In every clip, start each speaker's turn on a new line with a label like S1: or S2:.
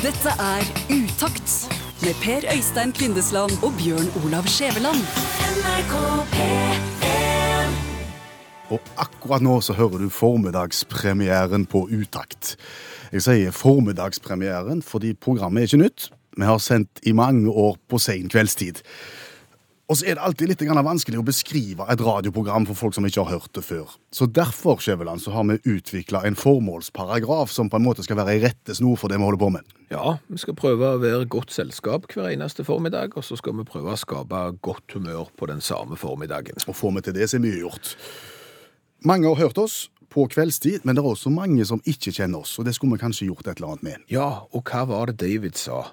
S1: Dette er Utakt med Per Øystein Kvindesland og Bjørn Olav Skjæveland.
S2: Og akkurat nå så hører du formiddagspremieren på Utakt. Jeg sier formiddagspremieren fordi programmet er ikke nytt. Vi har sendt i mange år på sen kveldstid. Og så er det alltid litt grann vanskelig å beskrive et radioprogram for folk som ikke har hørt det før. Så derfor Skjæveland, så har vi utvikla en formålsparagraf som på en måte skal være ei rettesnor for det vi holder på med.
S3: Ja, vi skal prøve å være godt selskap hver eneste formiddag, og så skal vi prøve å skape godt humør på den samme formiddagen.
S2: Og får vi til det, så er mye gjort. Mange har hørt oss på kveldstid, men det er også mange som ikke kjenner oss, og det skulle vi kanskje gjort et eller annet med.
S3: Ja, og hva var det David sa?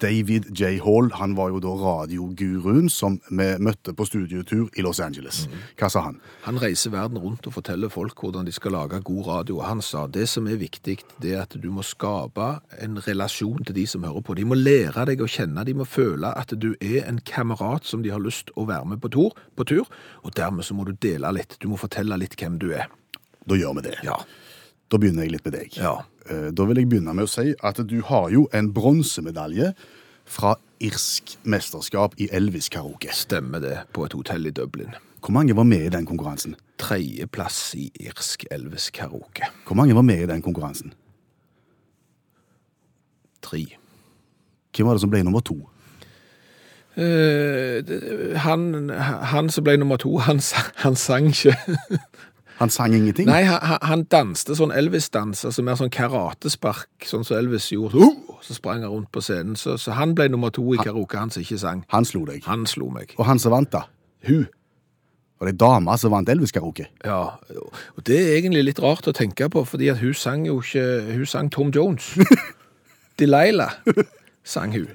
S2: David J. Hall han var jo da radioguruen som vi møtte på studietur i Los Angeles.
S3: Mm.
S2: Hva sa han?
S3: Han reiser verden rundt og forteller folk hvordan de skal lage god radio. og Han sa det som er viktig, det er at du må skape en relasjon til de som hører på. De må lære deg å kjenne, de må føle at du er en kamerat som de har lyst å være med på tur, på tur og dermed så må du dele litt. Du må fortelle litt hvem du er.
S2: Da gjør vi det.
S3: Ja.
S2: Da begynner jeg litt med deg.
S3: Ja.
S2: Eh, Da vil jeg begynne med å si at du har jo en bronsemedalje fra irsk mesterskap i Elvis-karaoke.
S3: Stemmer det på et hotell i Dublin.
S2: Hvor mange var med i den konkurransen?
S3: Tredjeplass i irsk Elvis karaoke.
S2: Hvor mange var med i den konkurransen?
S3: Tre.
S2: Hvem var det som ble nummer to?
S3: Eh, det- han, han som ble nummer to, han, sa- han sang ikke.
S2: Han sang ingenting.
S3: Nei, han, han- han danste sånn Elvis-dans, altså mer sånn karatespark, sånn som Elvis gjorde. Oh! Så sprang han rundt på scenen, så, så han ble nummer to i karaoke, han som ikke sang.
S2: Han slo deg.
S3: Han slo meg.
S2: Og han som vant, da? Hun. Var det dama som vant Elvis-karaoke?
S3: Ja, og det er egentlig litt rart å tenke på, fordi at hun sang jo ikke, hun sang Tom Jones. Delilah sang hun.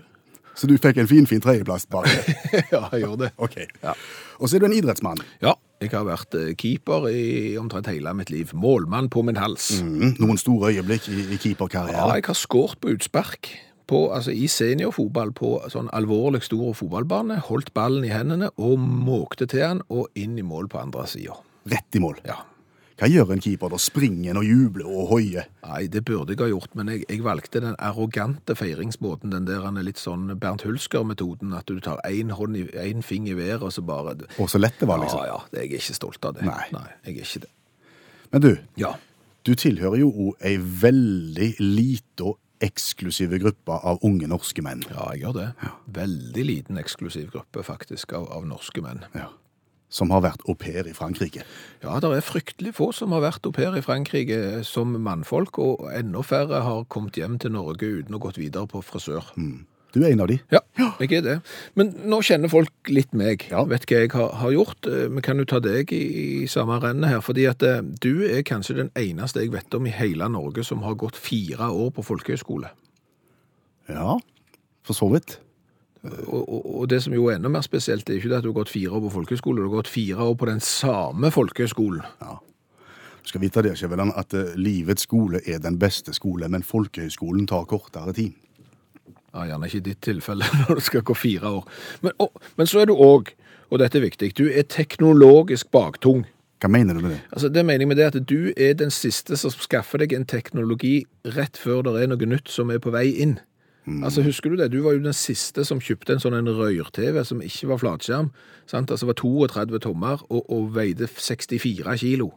S2: Så du fikk en fin, fin tredjeplass bak det.
S3: ja, jeg gjorde det.
S2: Ok.
S3: Ja.
S2: Og så er du en idrettsmann.
S3: Ja, jeg har vært eh, keeper i omtrent hele mitt liv. Målmann på min hals.
S2: Mm, noen store øyeblikk i, i
S3: Ja,
S2: keeperkarrieren.
S3: jeg har skåret på utspark. På, altså I seniorfotball på sånn alvorlig stor fotballbane, holdt ballen i hendene og måkte til han og inn i mål på andre sida.
S2: Rett i mål.
S3: Ja.
S2: Hva gjør en keeper da? Springer en og jubler og hoier?
S3: Nei, det burde jeg ha gjort, men jeg, jeg valgte den arrogante feiringsmåten, den der han er litt sånn Bernt Hulsker-metoden, at du tar én hånd i én finger i været, og så bare
S2: Og så lett det var, liksom.
S3: Ja, ja. Jeg er ikke stolt av det.
S2: Nei.
S3: Nei jeg er ikke det.
S2: Men du,
S3: Ja.
S2: du tilhører jo òg ei veldig lite og eksklusive gruppe av unge norske menn.
S3: Ja, jeg gjør det. Veldig liten eksklusiv gruppe, faktisk, av, av norske menn.
S2: Ja. Som har vært au pair i Frankrike.
S3: Ja, det er fryktelig få som har vært au pair i Frankrike eh, som mannfolk, og enda færre har kommet hjem til Norge uten å gått videre på frisør.
S2: Du er en av de.
S3: Mm. Ja, jeg er det. Men nå kjenner folk litt meg. Vet hva jeg har, har gjort. Eh, Vi kan jo ta deg i, i samme rennet her, fordi at eh, du er kanskje den eneste jeg vet om i hele Norge som har gått fire år på folkehøyskole.
S2: Ja, for så vidt.
S3: Og, og, og det som jo er enda mer spesielt, det er ikke det at du har gått fire år på folkehøyskole, du har gått fire år på den samme folkehøyskolen.
S2: Du skal vite det, Skjæveland, at eh, livets skole er den beste skole, men folkehøyskolen tar kortere tid.
S3: Ja, gjerne ikke i ditt tilfelle når du skal gå fire år. Men, å, men så er du òg, og dette er viktig, du er teknologisk baktung.
S2: Hva mener du med det?
S3: Altså, det mener jeg med det at du er den siste som skaffer deg en teknologi rett før det er noe nytt som er på vei inn. Altså, Husker du det? Du var jo den siste som kjøpte en sånn en røyr-TV som ikke var flatskjerm. sant? Altså var 32 tommer og, og veide 64 kilo.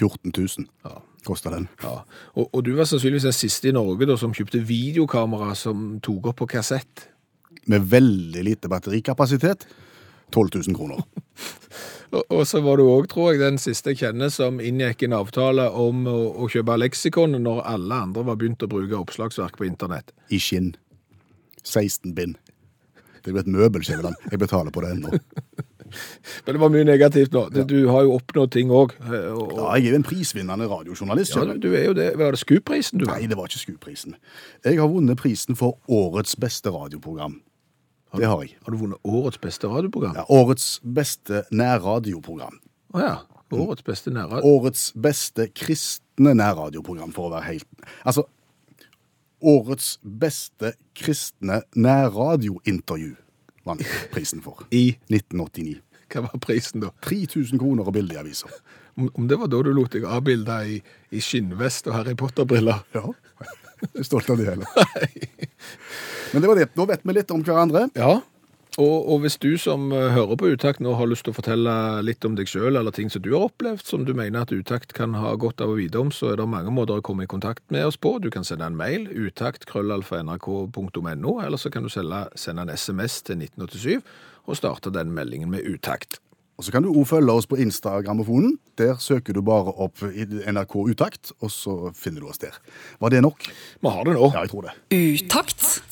S2: 14 000 koster den.
S3: Ja. Og, og du var sannsynligvis den siste i Norge da, som kjøpte videokamera som tok opp på kassett.
S2: Med veldig lite batterikapasitet 12 000 kroner.
S3: Og- Og så var du òg, tror jeg, den siste jeg kjenner som inngikk en avtale om å, å kjøpe leksikon når alle andre var begynt å bruke oppslagsverk på internett.
S2: I skinn. 16 bind. Det er jo et møbel, Skjæveland. Jeg betaler på det ennå.
S3: Men det var mye negativt nå. Du, du har jo oppnådd ting òg. Og, og,
S2: Ja, jeg er jo en prisvinnende radiojournalist.
S3: ja,
S2: Skjæveland.
S3: du, du er jo det. Var det SKUP-prisen du
S2: Nei,
S3: vant?
S2: det var ikke SKU-prisen. Jeg har vunnet prisen for årets beste radioprogram. Det har jeg.
S3: Har du vunnet årets beste radioprogram?
S2: Ja, årets beste nærradioprogram.
S3: Å ja. Årets beste nærradio.
S2: Årets beste kristne nærradioprogram, for å være helt Altså Årets beste kristne nærradiointervju vant prisen for.
S3: I
S2: 1989.
S3: Hva var prisen, da?
S2: 3000 kroner og bilde i aviser.
S3: Om, om det var da du lot deg avbilde i, i skinnvest og Harry Potter-briller?
S2: Ja. Jeg er stolt av det heller. Men det var det. Nå vet vi litt om hverandre.
S3: Ja, og, og hvis du som eh, hører på Utakt nå har lyst til å fortelle litt om deg sjøl, eller ting som du har opplevd som du mener at Utakt kan ha godt av å vite om, så er det mange måter å komme i kontakt med oss på. Du kan sende en mail, utakt.krøllalfa.nrk.no, eller så kan du selge, sende en SMS til 1987 og starte den meldingen med Utakt.
S2: Og så kan du også følge oss på Instagrammofonen. Der søker du bare opp i NRK Utakt, og så finner du oss der. Var det nok?
S3: Vi har det nå.
S2: Ja, jeg tror det.
S1: Utakt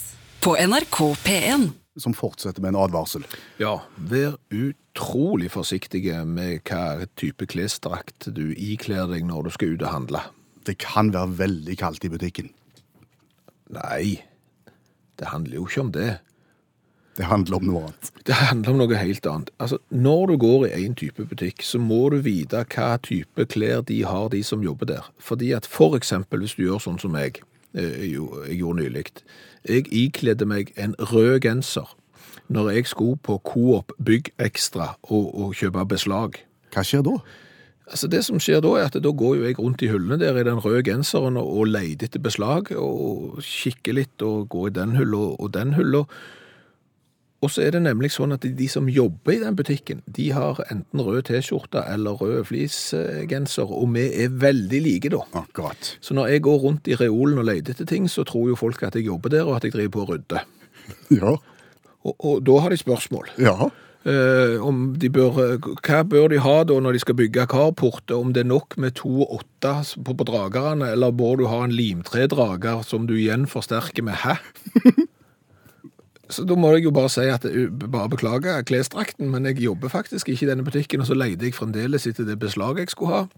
S1: på NRK P1.
S2: Som fortsetter med en advarsel.
S3: Ja, vær utrolig forsiktige med hva type klesdrakt du ikler deg når du skal ut og handle.
S2: Det kan være veldig kaldt i butikken.
S3: Nei, det handler jo ikke om det.
S2: Det handler om noe annet.
S3: Det handler om noe helt annet. Altså, når du går i en type butikk, så må du vite hva type klær de har, de som jobber der. Fordi at for eksempel hvis du gjør sånn som jeg, eh, jo- jeg gjorde nylig. Jeg ikledde meg en rød genser når jeg skulle på Coop Bygg Ekstra og, og kjøpe beslag.
S2: Hva skjer da?
S3: Altså Det som skjer da, er at da går jo jeg rundt i hyllene der i den røde genseren og, og leter etter beslag, og kikker litt og går i den hylla og, og den hylla. Og så er det nemlig sånn at de, de som jobber i den butikken, de har enten rød T-skjorte eller rød fleecegenser, og vi er veldig like da.
S2: Akkurat.
S3: Så når jeg går rundt i reolen og leter etter ting, så tror jo folk at jeg jobber der, og at jeg driver på å rydde.
S2: Ja.
S3: Og, og da har de spørsmål.
S2: ja.
S3: Eh, om de bør, hva bør de ha da når de skal bygge carport? Om det er nok med to og åtte på, på dragerne, eller bør du ha en limtredrager som du igjen forsterker med hæ? Så da må jeg jo bare si at eh, bare beklager klesdrakten, men jeg jobber faktisk ikke i denne butikken, og så leide jeg fremdeles etter det beslaget jeg skulle ha.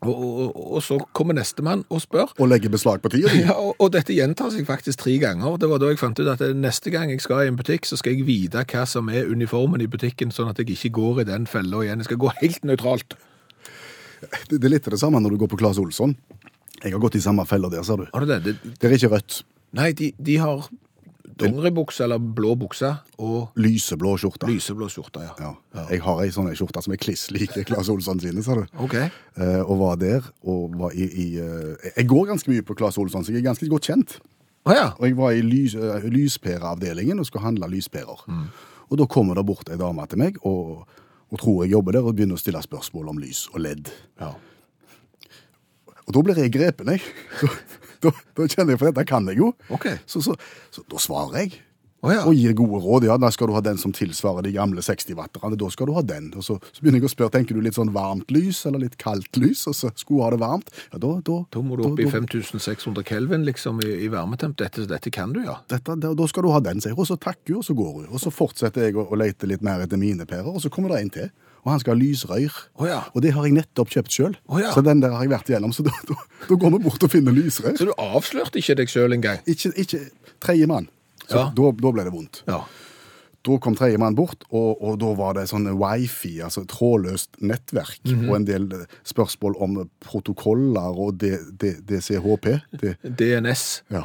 S3: Og, og, og så kommer nestemann og spør.
S2: Og legge beslag på tida di.
S3: Ja, og, og dette gjentar seg faktisk tre ganger. Det var da jeg fant ut at eh, neste gang jeg skal i en butikk, så skal jeg vite hva som er uniformen i butikken, sånn at jeg ikke går i den fella igjen. Jeg skal gå helt nøytralt.
S2: Det det er litt av det samme når du går på Claes Olsson. Jeg har gått i samme fella der, ser du.
S3: Har du det? det
S2: Det er ikke rødt.
S3: nei, de, de har dongeribukse eller blå bukse og
S2: Lyseblå skjorte.
S3: lyseblå skjorte, ja.
S2: Ja. Jeg har ei sånn ei skjorte som er kliss lik Claes Olsson sine, ser du.
S3: Ok.
S2: Eh, og var der, og var i, i eh, Jeg går ganske mye på Claes Olsson, så jeg er ganske godt kjent.
S3: Å ja.
S2: Og jeg var i lys, eh, lyspæreavdelingen og skulle handle lyspærer.
S3: Mm.
S2: Og da kommer det bort ei dame til meg og, og tror jeg jobber der, og begynner å stille spørsmål om lys og ledd.
S3: ja.
S2: Og da blir jeg grepen, jeg. Så, da, da kjenner jeg for dette kan jeg jo.
S3: Ok.
S2: Så, så, så da svarer jeg.
S3: Å ja.
S2: Og gir gode råd. Ja, da skal du ha den som tilsvarer de gamle 60-watterne. Da skal du ha den. Og så, så begynner jeg å spørre tenker du litt sånn varmt lys eller litt kaldt lys. Og så skulle hun ha det varmt. Ja, da, da,
S3: Da må du opp i 5600 kelvin liksom i, i varmetemp. Dette, dette kan du, ja.
S2: dette, da, da skal du ha den, sier hun. Og så takker hun, og så går hun. Og så fortsetter jeg å, å lete litt mer etter mine pærer, og så kommer det en til. Og han skal ha lysrøyr.
S3: Å ja.
S2: Og det har jeg nettopp kjøpt sjøl.
S3: Å ja.
S2: Så den der har jeg vært igjennom. Så da, da, da går vi bort og finner lysrøyr.
S3: Så du avslørte ikke deg sjøl engang?
S2: Ikke, ikke tredjemann. Så
S3: Ja.
S2: da, da ble det vondt.
S3: Ja.
S2: Da kom tredjemann bort, og, og da var det sånn wifi, altså trådløst nettverk,
S3: Mhm.
S2: og en del eh, spørsmål om protokoller og D, D, DCHP. Det,
S3: DNS
S2: ja.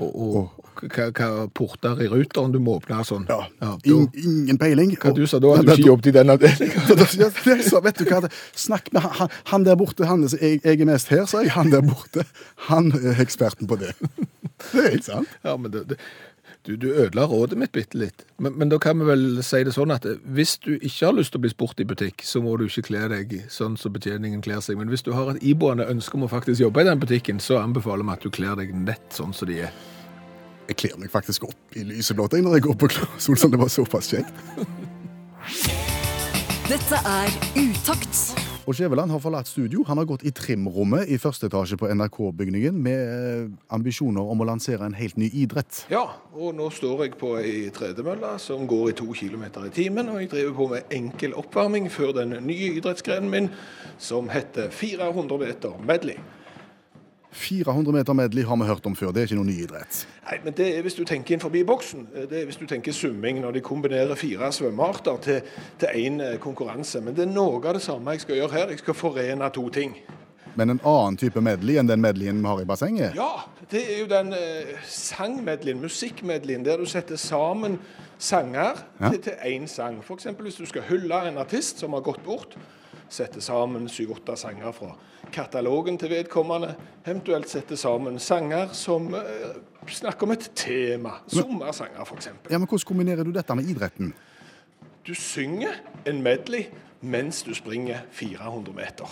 S3: og, og, hva, hva porter i ruteren du må åpne og sånn.
S2: ja.
S3: da-
S2: In, ingen peiling.
S3: Hva du sa da, hadde du ikke jobbet i den avdelingen.
S2: Ja, det- det- det- så vet du hva, det- Snakk med han- han, han der borte. Han, e- er- jeg, jeg er mest her, sa jeg. Han der borte. Han er eksperten på det. Det er ikke sant.
S3: Ja, men det, det, du, du ødela rådet mitt bitte litt. Men, men da kan vi vel si det sånn at eh, hvis du ikke har lyst til å bli spurt i butikk, så må du ikke kle deg sånn som betjeningen kler seg. Men hvis du har et iboende ønske om å faktisk jobbe i den butikken, så anbefaler vi at du kler deg nett sånn som de er.
S2: Jeg kler meg faktisk opp i lyseblått jeg, når jeg går på Claes Olsson. Det var såpass kjekt.
S1: Dette er Utakt.
S2: Og Skjæveland har forlatt studio. Han har gått i trimrommet i første etasje på NRK-bygningen med eh, ambisjoner om å lansere en helt ny idrett.
S3: Ja, og nå står jeg på ei tredemølle som går i to kilometer i timen, og jeg driver på med enkel oppvarming før den nye idrettsgrenen min, som heter 400 meter medley.
S2: 400 meter medley har vi hørt om før. Det er ikke noen ny idrett.
S3: Nei, men det er hvis du tenker inn forbi boksen. Eh, Det er hvis du tenker summing når de kombinerer fire svømmearter til, til én eh, konkurranse. Men det er noe av det samme jeg skal gjøre her. Jeg skal forene to ting.
S2: Men en annen type medley enn den medleyen vi har i bassenget?
S3: Ja, det er jo den eh, sangmedleyen, musikkmedleyen, der du setter sammen sanger til- til én sang. F.eks. hvis du skal hylle en artist som har gått bort. Sette sammen syv-åtte sanger fra katalogen til vedkommende. Eventuelt sette sammen sanger som eh, snakke om et tema. Sommersanger, f.eks.
S2: Ja, men Hvordan kombinerer du dette med idretten?
S3: Du synger en medley mens du springer 400 meter.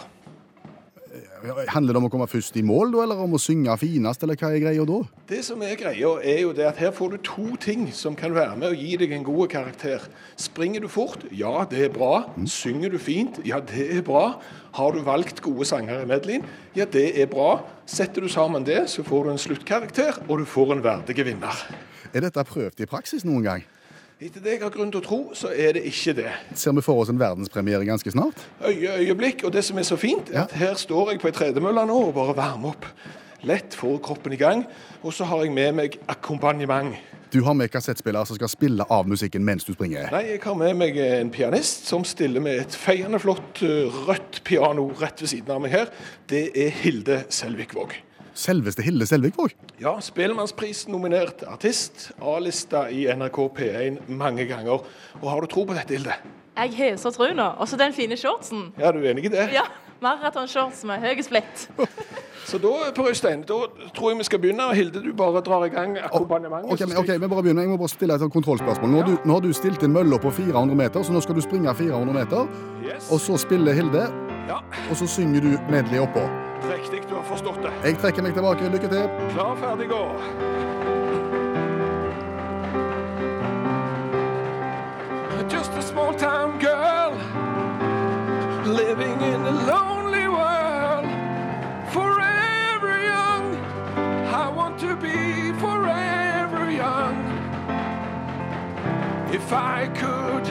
S2: Handler det om å komme først i mål, da, eller om å synge finest, eller hva er greia da?
S3: Det som er greia, er jo det at her får du to ting som kan være med og gi deg en god karakter. Springer du fort? Ja, det er bra. Synger du fint? Ja, det er bra. Har du valgt gode sanger i medleyen? Ja, det er bra. Setter du sammen det, så får du en sluttkarakter, og du får en verdig vinner.
S2: Er dette prøvd i praksis noen gang?
S3: Etter det jeg har grunn til å tro, så er det ikke det.
S2: Ser vi for oss en verdenspremiere ganske snart?
S3: Øye, øyeblikk, og det som er så fint, er at her står jeg på ei tredemølle nå og bare varmer opp. Lett får kroppen i gang, og så har jeg med meg akkompagnement.
S2: Du har med kassettspiller som skal spille av musikken mens du springer.
S3: Nei, jeg har med meg en pianist som stiller med et feiende flott eh, rødt piano rett ved siden av meg her. Det er Hilde Selvikvåg.
S2: Selveste Hilde Selvikvåg?
S3: Ja, Spellemannsprisen-nominert artist, A-lista i NRK P1 mange ganger. Og har du tro på dette, Hilde?
S4: Jeg har så tro nå. Og så den fine shortsen.
S3: Ja, du er enig i det?
S4: Ja, maratonshorts med høy splitt.
S3: Så da, Per Øystein, da tror jeg vi skal begynne. Og Hilde, du bare drar i gang akkompagnementet.
S2: Ok,
S3: så
S2: men,
S3: skal
S2: ok, vi bare begynner. Jeg må bare stille et sånt kontrollspørsmål. Nå har, du, nå har du stilt inn mølla på 400 meter, så nå skal du springe 400 meter.
S3: jeg- Yes.
S2: Og så spiller Hilde,
S3: Ja,
S2: og så synger du medley oppå.
S3: riktig, du har forstått det.
S2: Jeg trekker meg tilbake. Lykke til.
S3: Klar, ferdig, gå. Just a small town girl living in a lonely world. Forever young, I want to be forever young. If I could,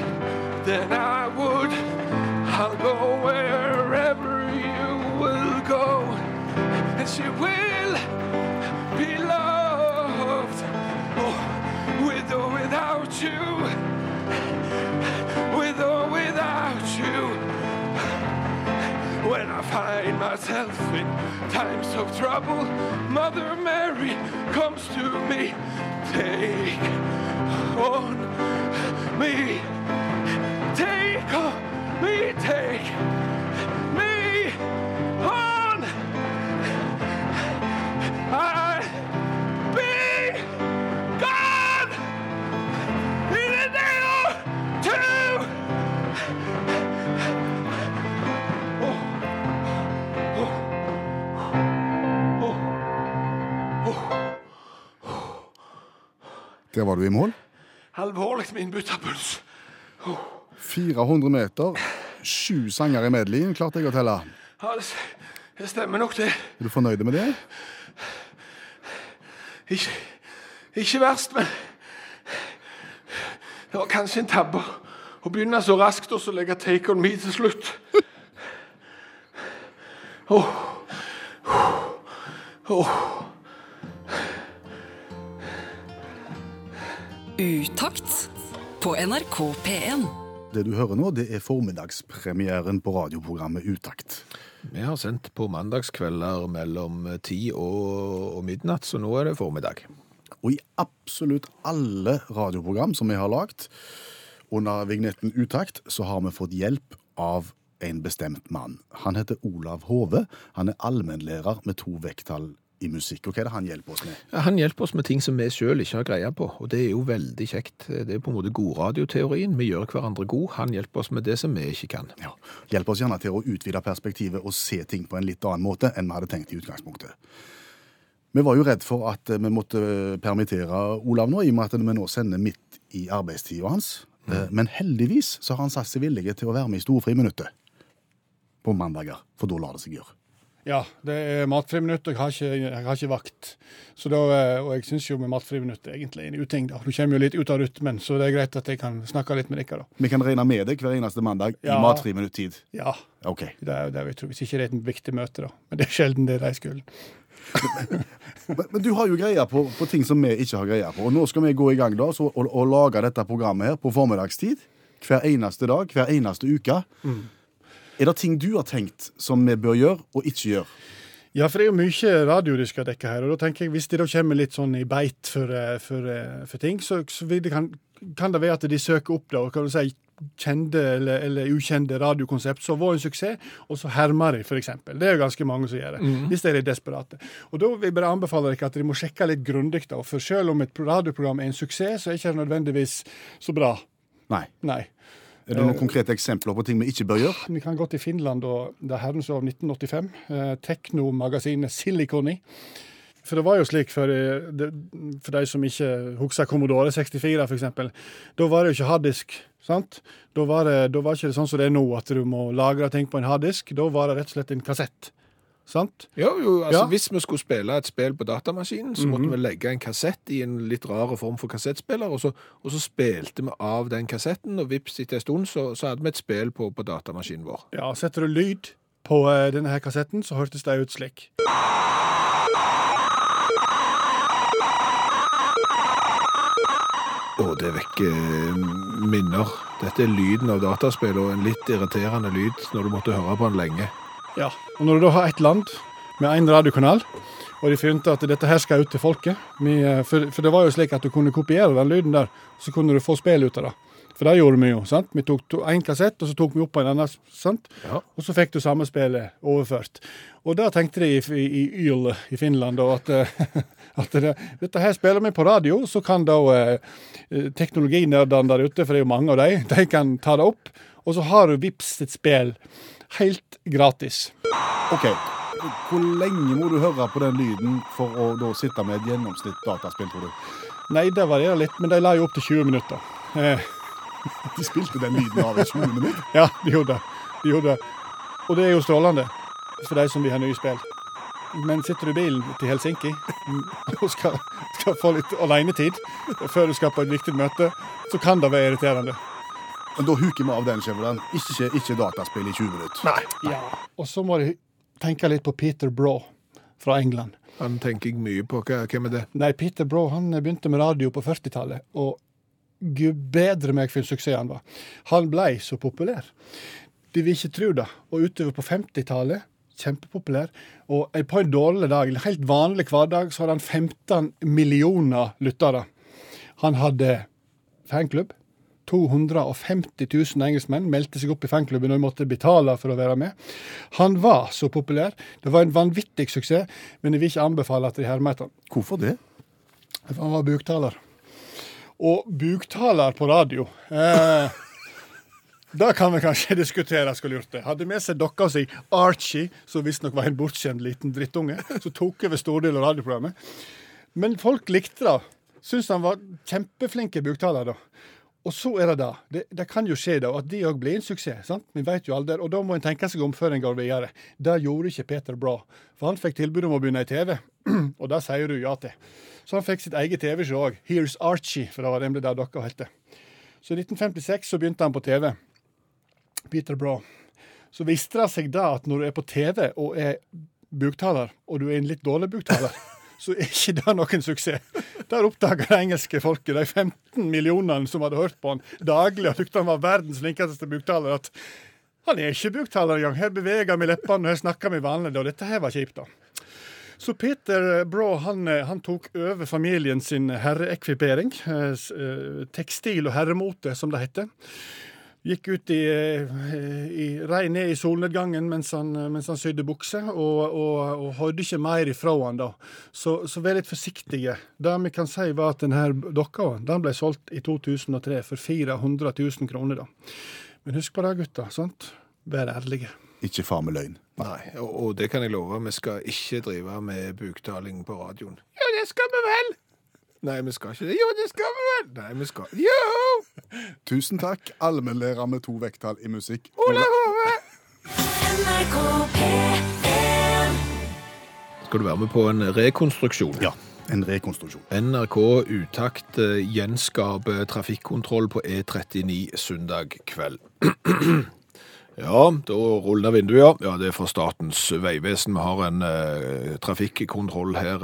S3: then I would. I'll go wherever you will go, and she will be loved oh, with or without you with or without you when I find myself in times of trouble Mother Mary comes to me take on me take on me take me on I be gone in a day or two.
S2: Der var du i mål.
S3: Alvorlig min butterpuls.
S2: 400 meter, sju sanger i medleyen, klarte jeg å telle.
S3: Ja, det s- det stemmer nok, det.
S2: Er du fornøyd med det?
S3: Ikke, ikke verst, men det var kanskje en tabbe å begynne så raskt og så legge take on me til slutt. Åh. Åh.
S1: Utakt på NRK P1.
S2: Det du hører nå, det er formiddagspremieren på radioprogrammet Utakt.
S5: Vi har sendt på mandagskvelder
S3: eh,
S5: mellom ti og, og midnatt, så nå er det formiddag.
S2: Og i absolutt alle radioprogram som vi har lagt, under vignetten Utakt, så har vi fått hjelp av en bestemt mann. Han heter Olav Hove. Han er allmennlærer med to vekttall i musikk. Og hva er det han hjelper oss med?
S5: Ja, Han hjelper oss med ting som vi sjøl ikke har greie på, og det er jo veldig kjekt. Det er på en måte godradioteorien. Vi gjør hverandre god. Han hjelper oss med det som vi ikke kan.
S2: Ja, Hjelper oss gjerne til å utvide perspektivet og se ting på en litt annen måte enn vi hadde tenkt i utgangspunktet. Vi var jo redd for at eh, vi måtte eh, permittere Olav nå, i og med at vi nå sender midt i arbeidstida hans.
S6: Mm.
S2: Eh, Men heldigvis så har han satt seg villige til å være med i storfriminuttet på mandager, for da lar det seg gjøre.
S6: Ja, det er matfriminutt, og Eh, jeg har ikke, jeg har ikke vakt. Så da, eh, og jeg syns jo med matfriminutt er egentlig en uting, da. Du kommer jo litt ut av rytmen, så det er greit at jeg kan snakke litt med dere, da.
S2: Vi kan regne med deg hver eneste mandag i
S6: Ja.
S2: matfriminutt-tid.
S6: Ja.
S2: Ok.
S6: Det er jo det vi tror, hvis ikke det er et viktig møte, da. Men det er sjelden det er de skulle.
S2: Men, men du har jo greie på, på ting som vi ikke har greie på. Og nå skal vi gå i gang da, så, og, og lage dette programmet her på formiddagstid. Hver eneste dag, hver eneste uke.
S6: Mm.
S2: Er det ting du har tenkt som vi bør gjøre og ikke gjøre?
S6: Ja, for det er jo mye radio de skal dekke her, og da tenker jeg hvis de da kommer litt sånn i beit for, eh, for, eh, for ting, så, så vil det kan, kan det være at de søker opp det, og kan du si kjente eller, eller ukjente radiokonsept som har vært en suksess, og så hermer de, f.eks. Det er jo ganske mange som gjør det, hvis de er desperate. Og da vil jeg bare anbefale dere at dere må sjekke litt grundig, da, for selv om et radioprogram er en suksess, så er ikke det nødvendigvis så bra.
S2: Nei.
S6: Nei.
S2: Er det noen konkrete eksempler på ting vi ikke bør gjøre?
S6: Vi kan gå til Finland og det er herrens år 1985. Eh, Teknomagasinet Silikoni. For det var jo slik for, eh, det- for de som ikke husker Commodore 64 f.eks. Da var det jo ikke harddisk. sant? Da var, det, da var ikke det sånn som det er nå, at du må lagre ting på en harddisk. Da var det rett og slett en kassett. sant?
S3: Jo, jo, altså
S6: Ja.
S3: Hvis vi skulle spille et spill på datamaskinen, så måtte vi legge en kassett i en litt rar form for kassettspiller, og så, og så spilte vi av den kassetten, og vips, etter en stund så, så hadde vi et spill på, på datamaskinen vår.
S6: Ja, Setter du lyd på eh, denne her kassetten, så hørtes det ut slik.
S3: Og det vekker eh, minner. Dette er lyden av dataspill, og en litt irriterende lyd når du måtte høre på den lenge.
S6: Ja, og når du da har ett land med én radiokanal, og de fant at dette her skal ut til folket vi, eh, for, for det var jo slik at du kunne kopiere den lyden der, så kunne du få spill ut av det. For det gjorde vi jo. sant? Vi tok to- en kassett, og så tok vi opp på en annen. sant?
S3: Ja.
S6: Og så fikk du samme spillet overført. Og da tenkte de i, i, i Yl i Finland da, at, eh, at det, dette her spiller vi på radio, så kan da eh, eh, teknologinerdene der ute, for det er jo mange av dem, de kan ta det opp. Og så har du Vips sitt spill helt gratis.
S2: Ok, Hvor lenge må du høre på den lyden for å da sitte med et gjennomsnitt dataspill, tror du?
S6: Nei, det varierer litt, men de la jo opp til 20 minutter. Eh,
S2: De spilte den lyden av i 20 minutter.
S6: ja, de gjorde det. De gjorde det. Og det er jo strålende for de som vil ha nye spill. Men sitter du i bilen til Helsinki og skal, skal få litt alenetid før du skal på et viktig møte, så kan det være irriterende.
S2: Men da huker vi av den, Skjæveland. Ikke, ikke dataspill i 20 minutter.
S6: Nei. Ja. Og så må du tenke litt på Peter Braw fra England.
S3: Han tenker jeg mye på. Hva, hvem er det?
S6: Nei, Peter Braw han begynte med radio på 40-tallet, og gud bedre meg for en suksess han var. Han blei så populær. De vil ikke tro det. Og utover på 50-tallet, kjempepopulær. Og på en dårlig dag, en helt vanlig hverdag, så hadde han 15 millioner lyttere. Han hadde fanklubb. 250 000 engelskmenn meldte seg opp i fanklubben og måtte betale for å være med. Han var så populær. Det var en vanvittig suksess, men jeg vil ikke anbefale at de hermer etter han.
S2: Hvorfor det?
S6: For han var buktaler. Og buktaler på radio eh, Da kan vi kanskje diskutere skulle gjort det. Hadde med seg dokka si Archie, som visstnok var en bortskjemt liten drittunge, som tok over store deler av radioprogrammet. Men folk likte det. Syns han var kjempeflink i buktaler, da. Og så er det da. Det, det kan jo skje da, at de òg blir en suksess. sant? Vi vet jo alder, og da må en tenke seg om før en går videre. Det gjorde ikke Peter bra, for han fikk tilbud om å begynne i TV, og det sier du ja til. Så han fikk sitt eget TV-show òg. Here's Archie, for det var nemlig det dere het. Så i 1956 så begynte han på TV. Peter Braw. Så viste det seg da at når du er på TV og er buktaler, og du er en litt dårlig buktaler, så er ikke det noen suksess. Der oppdaga det engelske folket, de 15 millionene som hadde hørt på han daglig og tykte han var verdens flinkeste buktaler, at han er ikke buktaler engang. Her beveger vi leppene, og her snakker vi vanlig. Og dette her var kjipt, da. Så Peter Braw han, eh, han tok over familien sin herreekvipering, eh, s- eh, tekstil og herremote, som det heter. Gikk ut i, eh, i rei ned i solnedgangen mens han, eh, mens han sydde bukser, og, og, og hørte ikke mer ifra han da. Så, så vær litt forsiktige. Det vi kan si var at denne dokka den ble solgt i 2003 for 400 000 kroner. da. Men husk på det, gutter. sant? Vær ærlige.
S2: Ikke far med løgn.
S3: Nei, og, og det kan jeg love, vi skal ikke drive med buktaling på radioen.
S6: Ja, det skal vi vel!
S3: Nei, vi skal ikke det. Jo, det skal vi vel! Nei, vi skal Jo!
S2: Tusen takk, allmennlærer med to vekttall i musikk.
S3: Skal du være med på en rekonstruksjon?
S2: Ja, en rekonstruksjon.
S3: NRK Utakt eh, gjenskaper trafikkontroll på E39 søndag kveld. Ja, da ruller det vinduet, ja. ja. Det er fra Statens vegvesen. Vi har en eh, trafikkontroll her.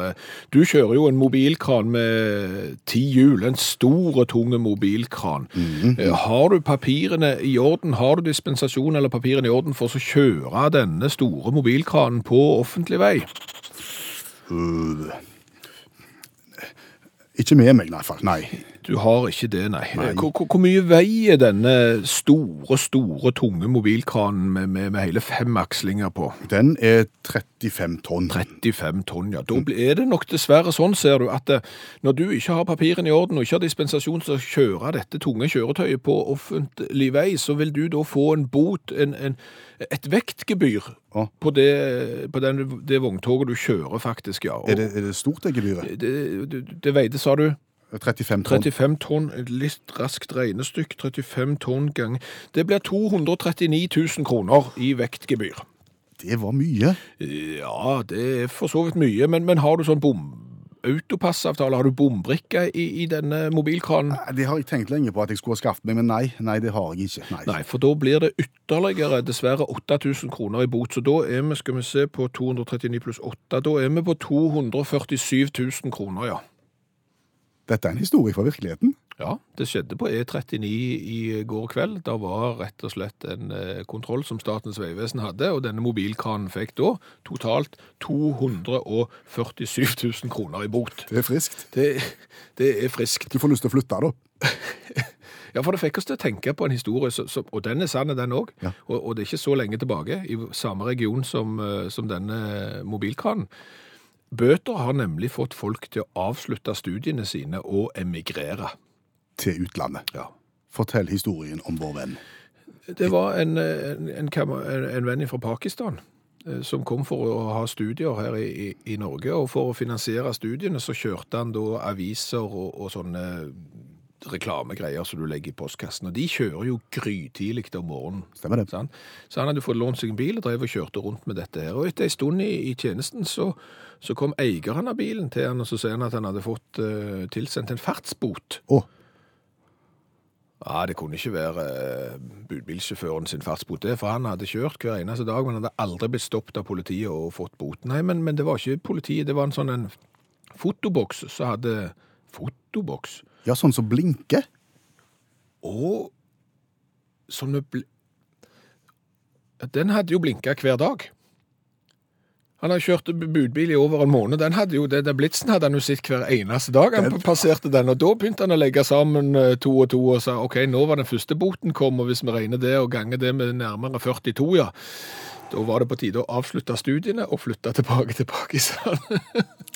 S3: Du kjører jo en mobilkran med ti hjul. En stor og tung mobilkran. Eh, Har du papirene i orden? Har du dispensasjon eller papirene i orden for å kjøre denne store mobilkranen på offentlig vei?
S2: Øh. Ikke med meg, i hvert fall. Nei.
S3: Du har ikke det, nei. Hvor, hvor, hvor mye veier denne store, store, tunge mobilkranen med, med, med hele fem akslinger på?
S2: Den er 35 tonn.
S3: 35 tonn, ja.
S2: Mm.
S3: Da blir- er det nok dessverre sånn, ser du, at eh, når du ikke har papirene i orden og ikke har dispensasjon til å kjøre dette tunge kjøretøyet på offentlig vei, så vil du da få en bot, en, en, et vektgebyr
S2: Å.
S3: på, det, på den, det vogntoget du kjører, faktisk, ja. Og
S2: Er det, er det stort, det gebyret?
S3: det, det, det veide, sa du?
S2: 35 tonn.
S3: 35 tonn, et litt raskt regnestykk, 35 tonn gang. Det blir 239 000 kroner i vektgebyr.
S2: Det var mye.
S3: Ja, det er for så vidt mye, men, men har du sånn bom... Autopassavtale, har du bombrikke i, i denne mobilkranen?
S2: Nei, Det har jeg tenkt lenge på at jeg skulle ha skaffet meg, men nei, nei, det har jeg ikke. Nei.
S3: Nei, for da blir det ytterligere dessverre 8000 kroner i bot, så da er vi, skal vi se, på 239 pluss 8, da er vi på 247 000 kroner, ja.
S2: Dette er en historie fra virkeligheten.
S3: Ja, det skjedde på E39 i går kveld. Det var rett og slett en eh, kontroll som Statens vegvesen hadde, og denne mobilkranen fikk da totalt 247 000 kroner i bot.
S2: Det er friskt.
S3: Det, det er friskt.
S2: Du får lyst til å flytte, da.
S3: Ja, for det fikk oss til å tenke på en historie, som- som- og den er sann, den òg.
S2: Ja.
S3: Og, og det er ikke så lenge tilbake, i samme region som, eh, som denne mobilkranen. Bøter har nemlig fått folk til å avslutte studiene sine og emigrere.
S2: Til utlandet.
S3: Ja.
S2: Fortell historien om vår venn.
S3: Det var en, en, en, kam- en- en venn fra Pakistan eh, som kom for å ha studier her i, i, i Norge, og for å finansiere studiene så kjørte han da aviser og, og sånne reklamegreier som du legger i postkassen, og de kjører jo grytidlig om morgenen.
S2: Stemmer det?
S3: Sant? Så han hadde fått lånt seg en bil og drev og kjørte rundt med dette her. Og etter en stund i, i tjenesten så, så kom eieren av bilen til han, og så sier han at han hadde fått eh, tilsendt en fartsbot.
S2: Å,
S3: Ja, det kunne ikke være eh, budbilsjåføren sin fartsbot, det, for han hadde kjørt hver eneste dag, men hadde aldri blitt stoppet av politiet og fått bot. Nei, men, men det var ikke politiet, det var en sånn en fotoboks som hadde Fotoboks?
S2: ja, sånn som blinker.
S3: Og som det bl... Den hadde jo blinka hver dag. Han har kjørt bu- budbil i over en måned. Den hadde jo, den den blitsen hadde han jo sett hver eneste dag. Han passerte den, og da begynte han å legge sammen eh, to og to og sa OK, nå var den første boten kom, og hvis vi regner det og ganger det med nærmere 42, ja, da var det på tide å avslutte studiene og flytte tilbake til Pakistan.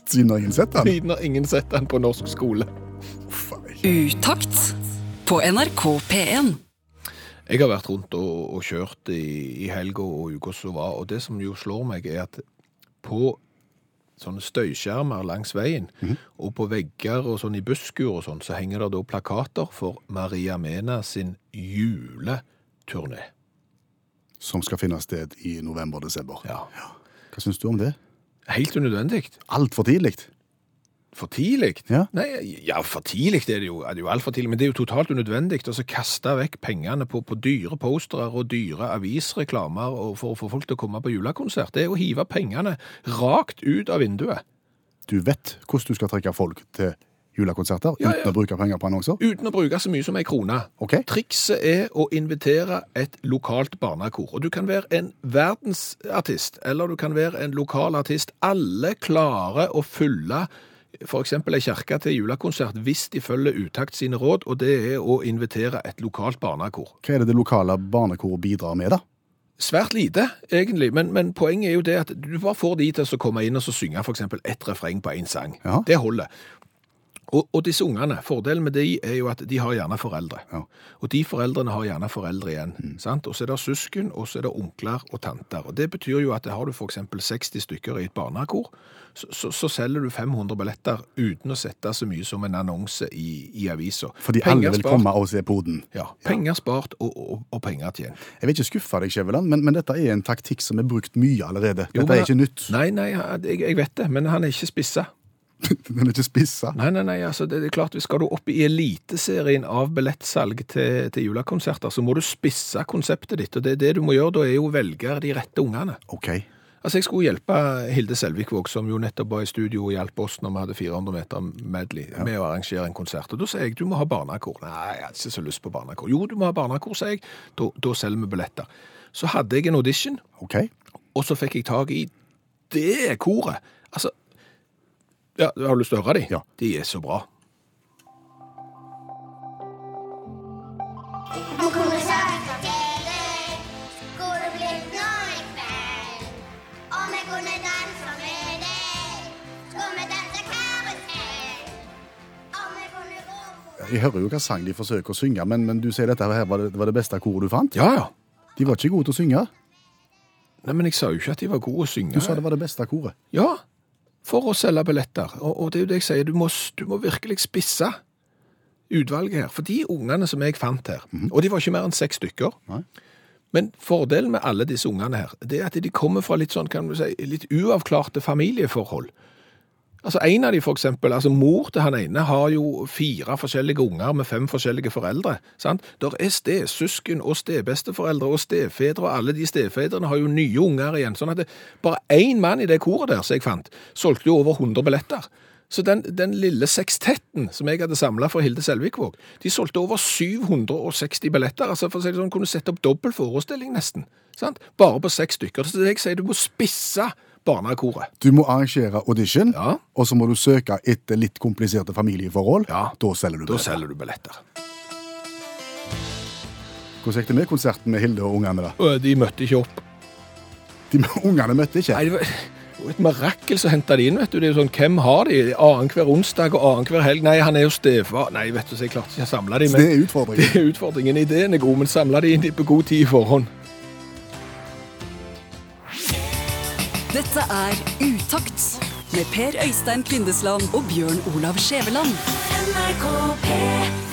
S2: Siden har ingen sett den.
S3: Siden har ingen sett han på norsk skole.
S1: Utakt på NRK P1.
S3: Jeg har vært rundt og, og kjørt i, i helga og uka som var, og det som jo slår meg, er at på sånne støyskjermer langs veien, og på vegger og sånn i busskur og sånn, så henger det da plakater for Maria Mena sin juleturné.
S2: Som skal finne sted i november-desember.
S3: Ja.
S2: Hva syns du om det?
S3: Helt unødvendig.
S2: Altfor tidlig.
S3: For tidlig?
S2: Ja.
S3: Nei, ja, for tidlig er det jo, er det jo altfor tidlig, men det er jo totalt unødvendig å så kaste vekk pengene på, på dyre postere og dyre avisreklamer og for å få folk til å komme på julekonsert. Det er å hive pengene rakt ut av vinduet.
S2: Du vet hvordan du skal trekke folk til julekonserter
S3: Ja, ja.
S2: uten å bruke penger på annonser.
S3: Uten å bruke så mye som ei krone.
S2: Ok.
S3: Trikset er å invitere et lokalt barnekor. Og du kan være en verdensartist, eller du kan være en lokal artist. Alle klarer å fylle f.eks. ei kirke til julekonsert hvis de følger Utakt sine råd, og det er å invitere et lokalt barnekor.
S2: Hva er det det lokale barnekoret bidrar med, da?
S3: Svært lite, egentlig, men, men poenget er jo det at du bare får de til å komme inn og så synge f.eks. ett refreng på én sang.
S2: Ja.
S3: Det holder. Og, og disse ungene, fordelen med de er jo at de har gjerne foreldre.
S2: Ja. Mm.
S3: Og de foreldrene har gjerne foreldre igjen. sant? Og så er det søsken, og så er det onkler og tanter. Og Det betyr jo at har du f.eks. 60 stykker i et barnekor, så, så, så selger du 500 billetter uten å sette så mye som en annonse i, i avisa.
S2: Fordi
S3: Penger
S2: alle vil
S3: spart.
S2: komme og se poden.
S3: Ja. Penger spart og, og, og penger tjent.
S2: Jeg vil ikke skuffe deg, Skjæveland, men, men dette er en taktikk som er brukt mye allerede.
S3: Jo,
S2: Dette
S3: men-
S2: er ikke nytt.
S3: Nei, nei, jeg, jeg vet det, men han er ikke spissa.
S2: Den er ikke spissa.
S3: Nei, nei, nei, altså det, det er klart, skal du opp i eliteserien av billettsalg til, til julekonserter, så må du spisse konseptet ditt, og det, det du må gjøre da er jo å velge de rette ungene.
S2: OK.
S3: Altså jeg skulle hjelpe Hilde Selvikvåg, som jo nettopp var i studio og hjalp oss når vi hadde 400 meter medley, med å arrangere en konsert, og da sier jeg, du må ha barnekor. Nei, jeg har ikke så lyst på barnekor. Jo, du må ha barnekor, sier jeg, da, da selger vi billetter. Så hadde jeg en audition,
S2: ok.
S3: og så fikk jeg tak i det koret. Altså, ja, har du lyst til å høre de?
S2: Ja.
S3: De er så bra.
S2: Jeg hører jo hva sang de forsøker å synge, men, men du sier dette her var det, var det beste koret du fant?
S3: Ja, ja.
S2: De var ikke gode til å synge.
S3: Nei, men jeg sa jo ikke at de var gode å synge.
S2: Du sa det var det beste koret.
S3: Ja, for å selge billetter. Og, og det er jo det jeg sier, du må, s- du må virkelig spisse utvalget her. For de ungene som jeg fant her, og de var ikke mer enn seks stykker.
S2: Mhm. Nei.
S3: Men fordelen med alle disse ungene her, det er at de kommer fra litt sånn, kan du si, litt uavklarte familieforhold. Altså En av de for eksempel, altså mor til han ene har jo fire forskjellige unger med fem forskjellige foreldre. sant? Der er stesøsken og stebesteforeldre og stefedre, og alle de stefedrene har jo nye unger igjen. sånn at det, Bare én mann i det koret der som jeg fant, solgte jo over 100 billetter. Så den, den lille sekstetten som jeg hadde samla for Hilde Selvikvåg, de solgte over 760 billetter. altså for å si det sånn, Kunne sette opp dobbel forestilling, nesten. sant? Bare på seks stykker. Så det jeg sier, du må spisse barnekoret.
S2: Du må arrangere audition,
S3: Ja.
S2: og så må du søke etter litt kompliserte familieforhold.
S3: Ja.
S2: Da selger du
S3: Da
S2: det.
S3: selger du billetter.
S2: Hvordan gikk det med konserten med Hilde og ungene? da?
S3: Og de møtte ikke opp.
S2: De Ungene møtte ikke.
S3: Nei, det var det var et mirakel som henta de inn. vet du. Det er jo sånn, Hvem har de? Annenhver onsdag og annenhver helg. Nei, han er jo stefar. Nei, vet du, så jeg klarte ikke å samle de.
S2: Så
S3: Men
S2: det er utfordringen.
S3: det er utfordringen. Ideen er god, men samle de inn på god tid i forhånd.
S1: Dette er Utakt med Per Øystein Kvindesland og Bjørn Olav Skjæveland.
S7: NRK P3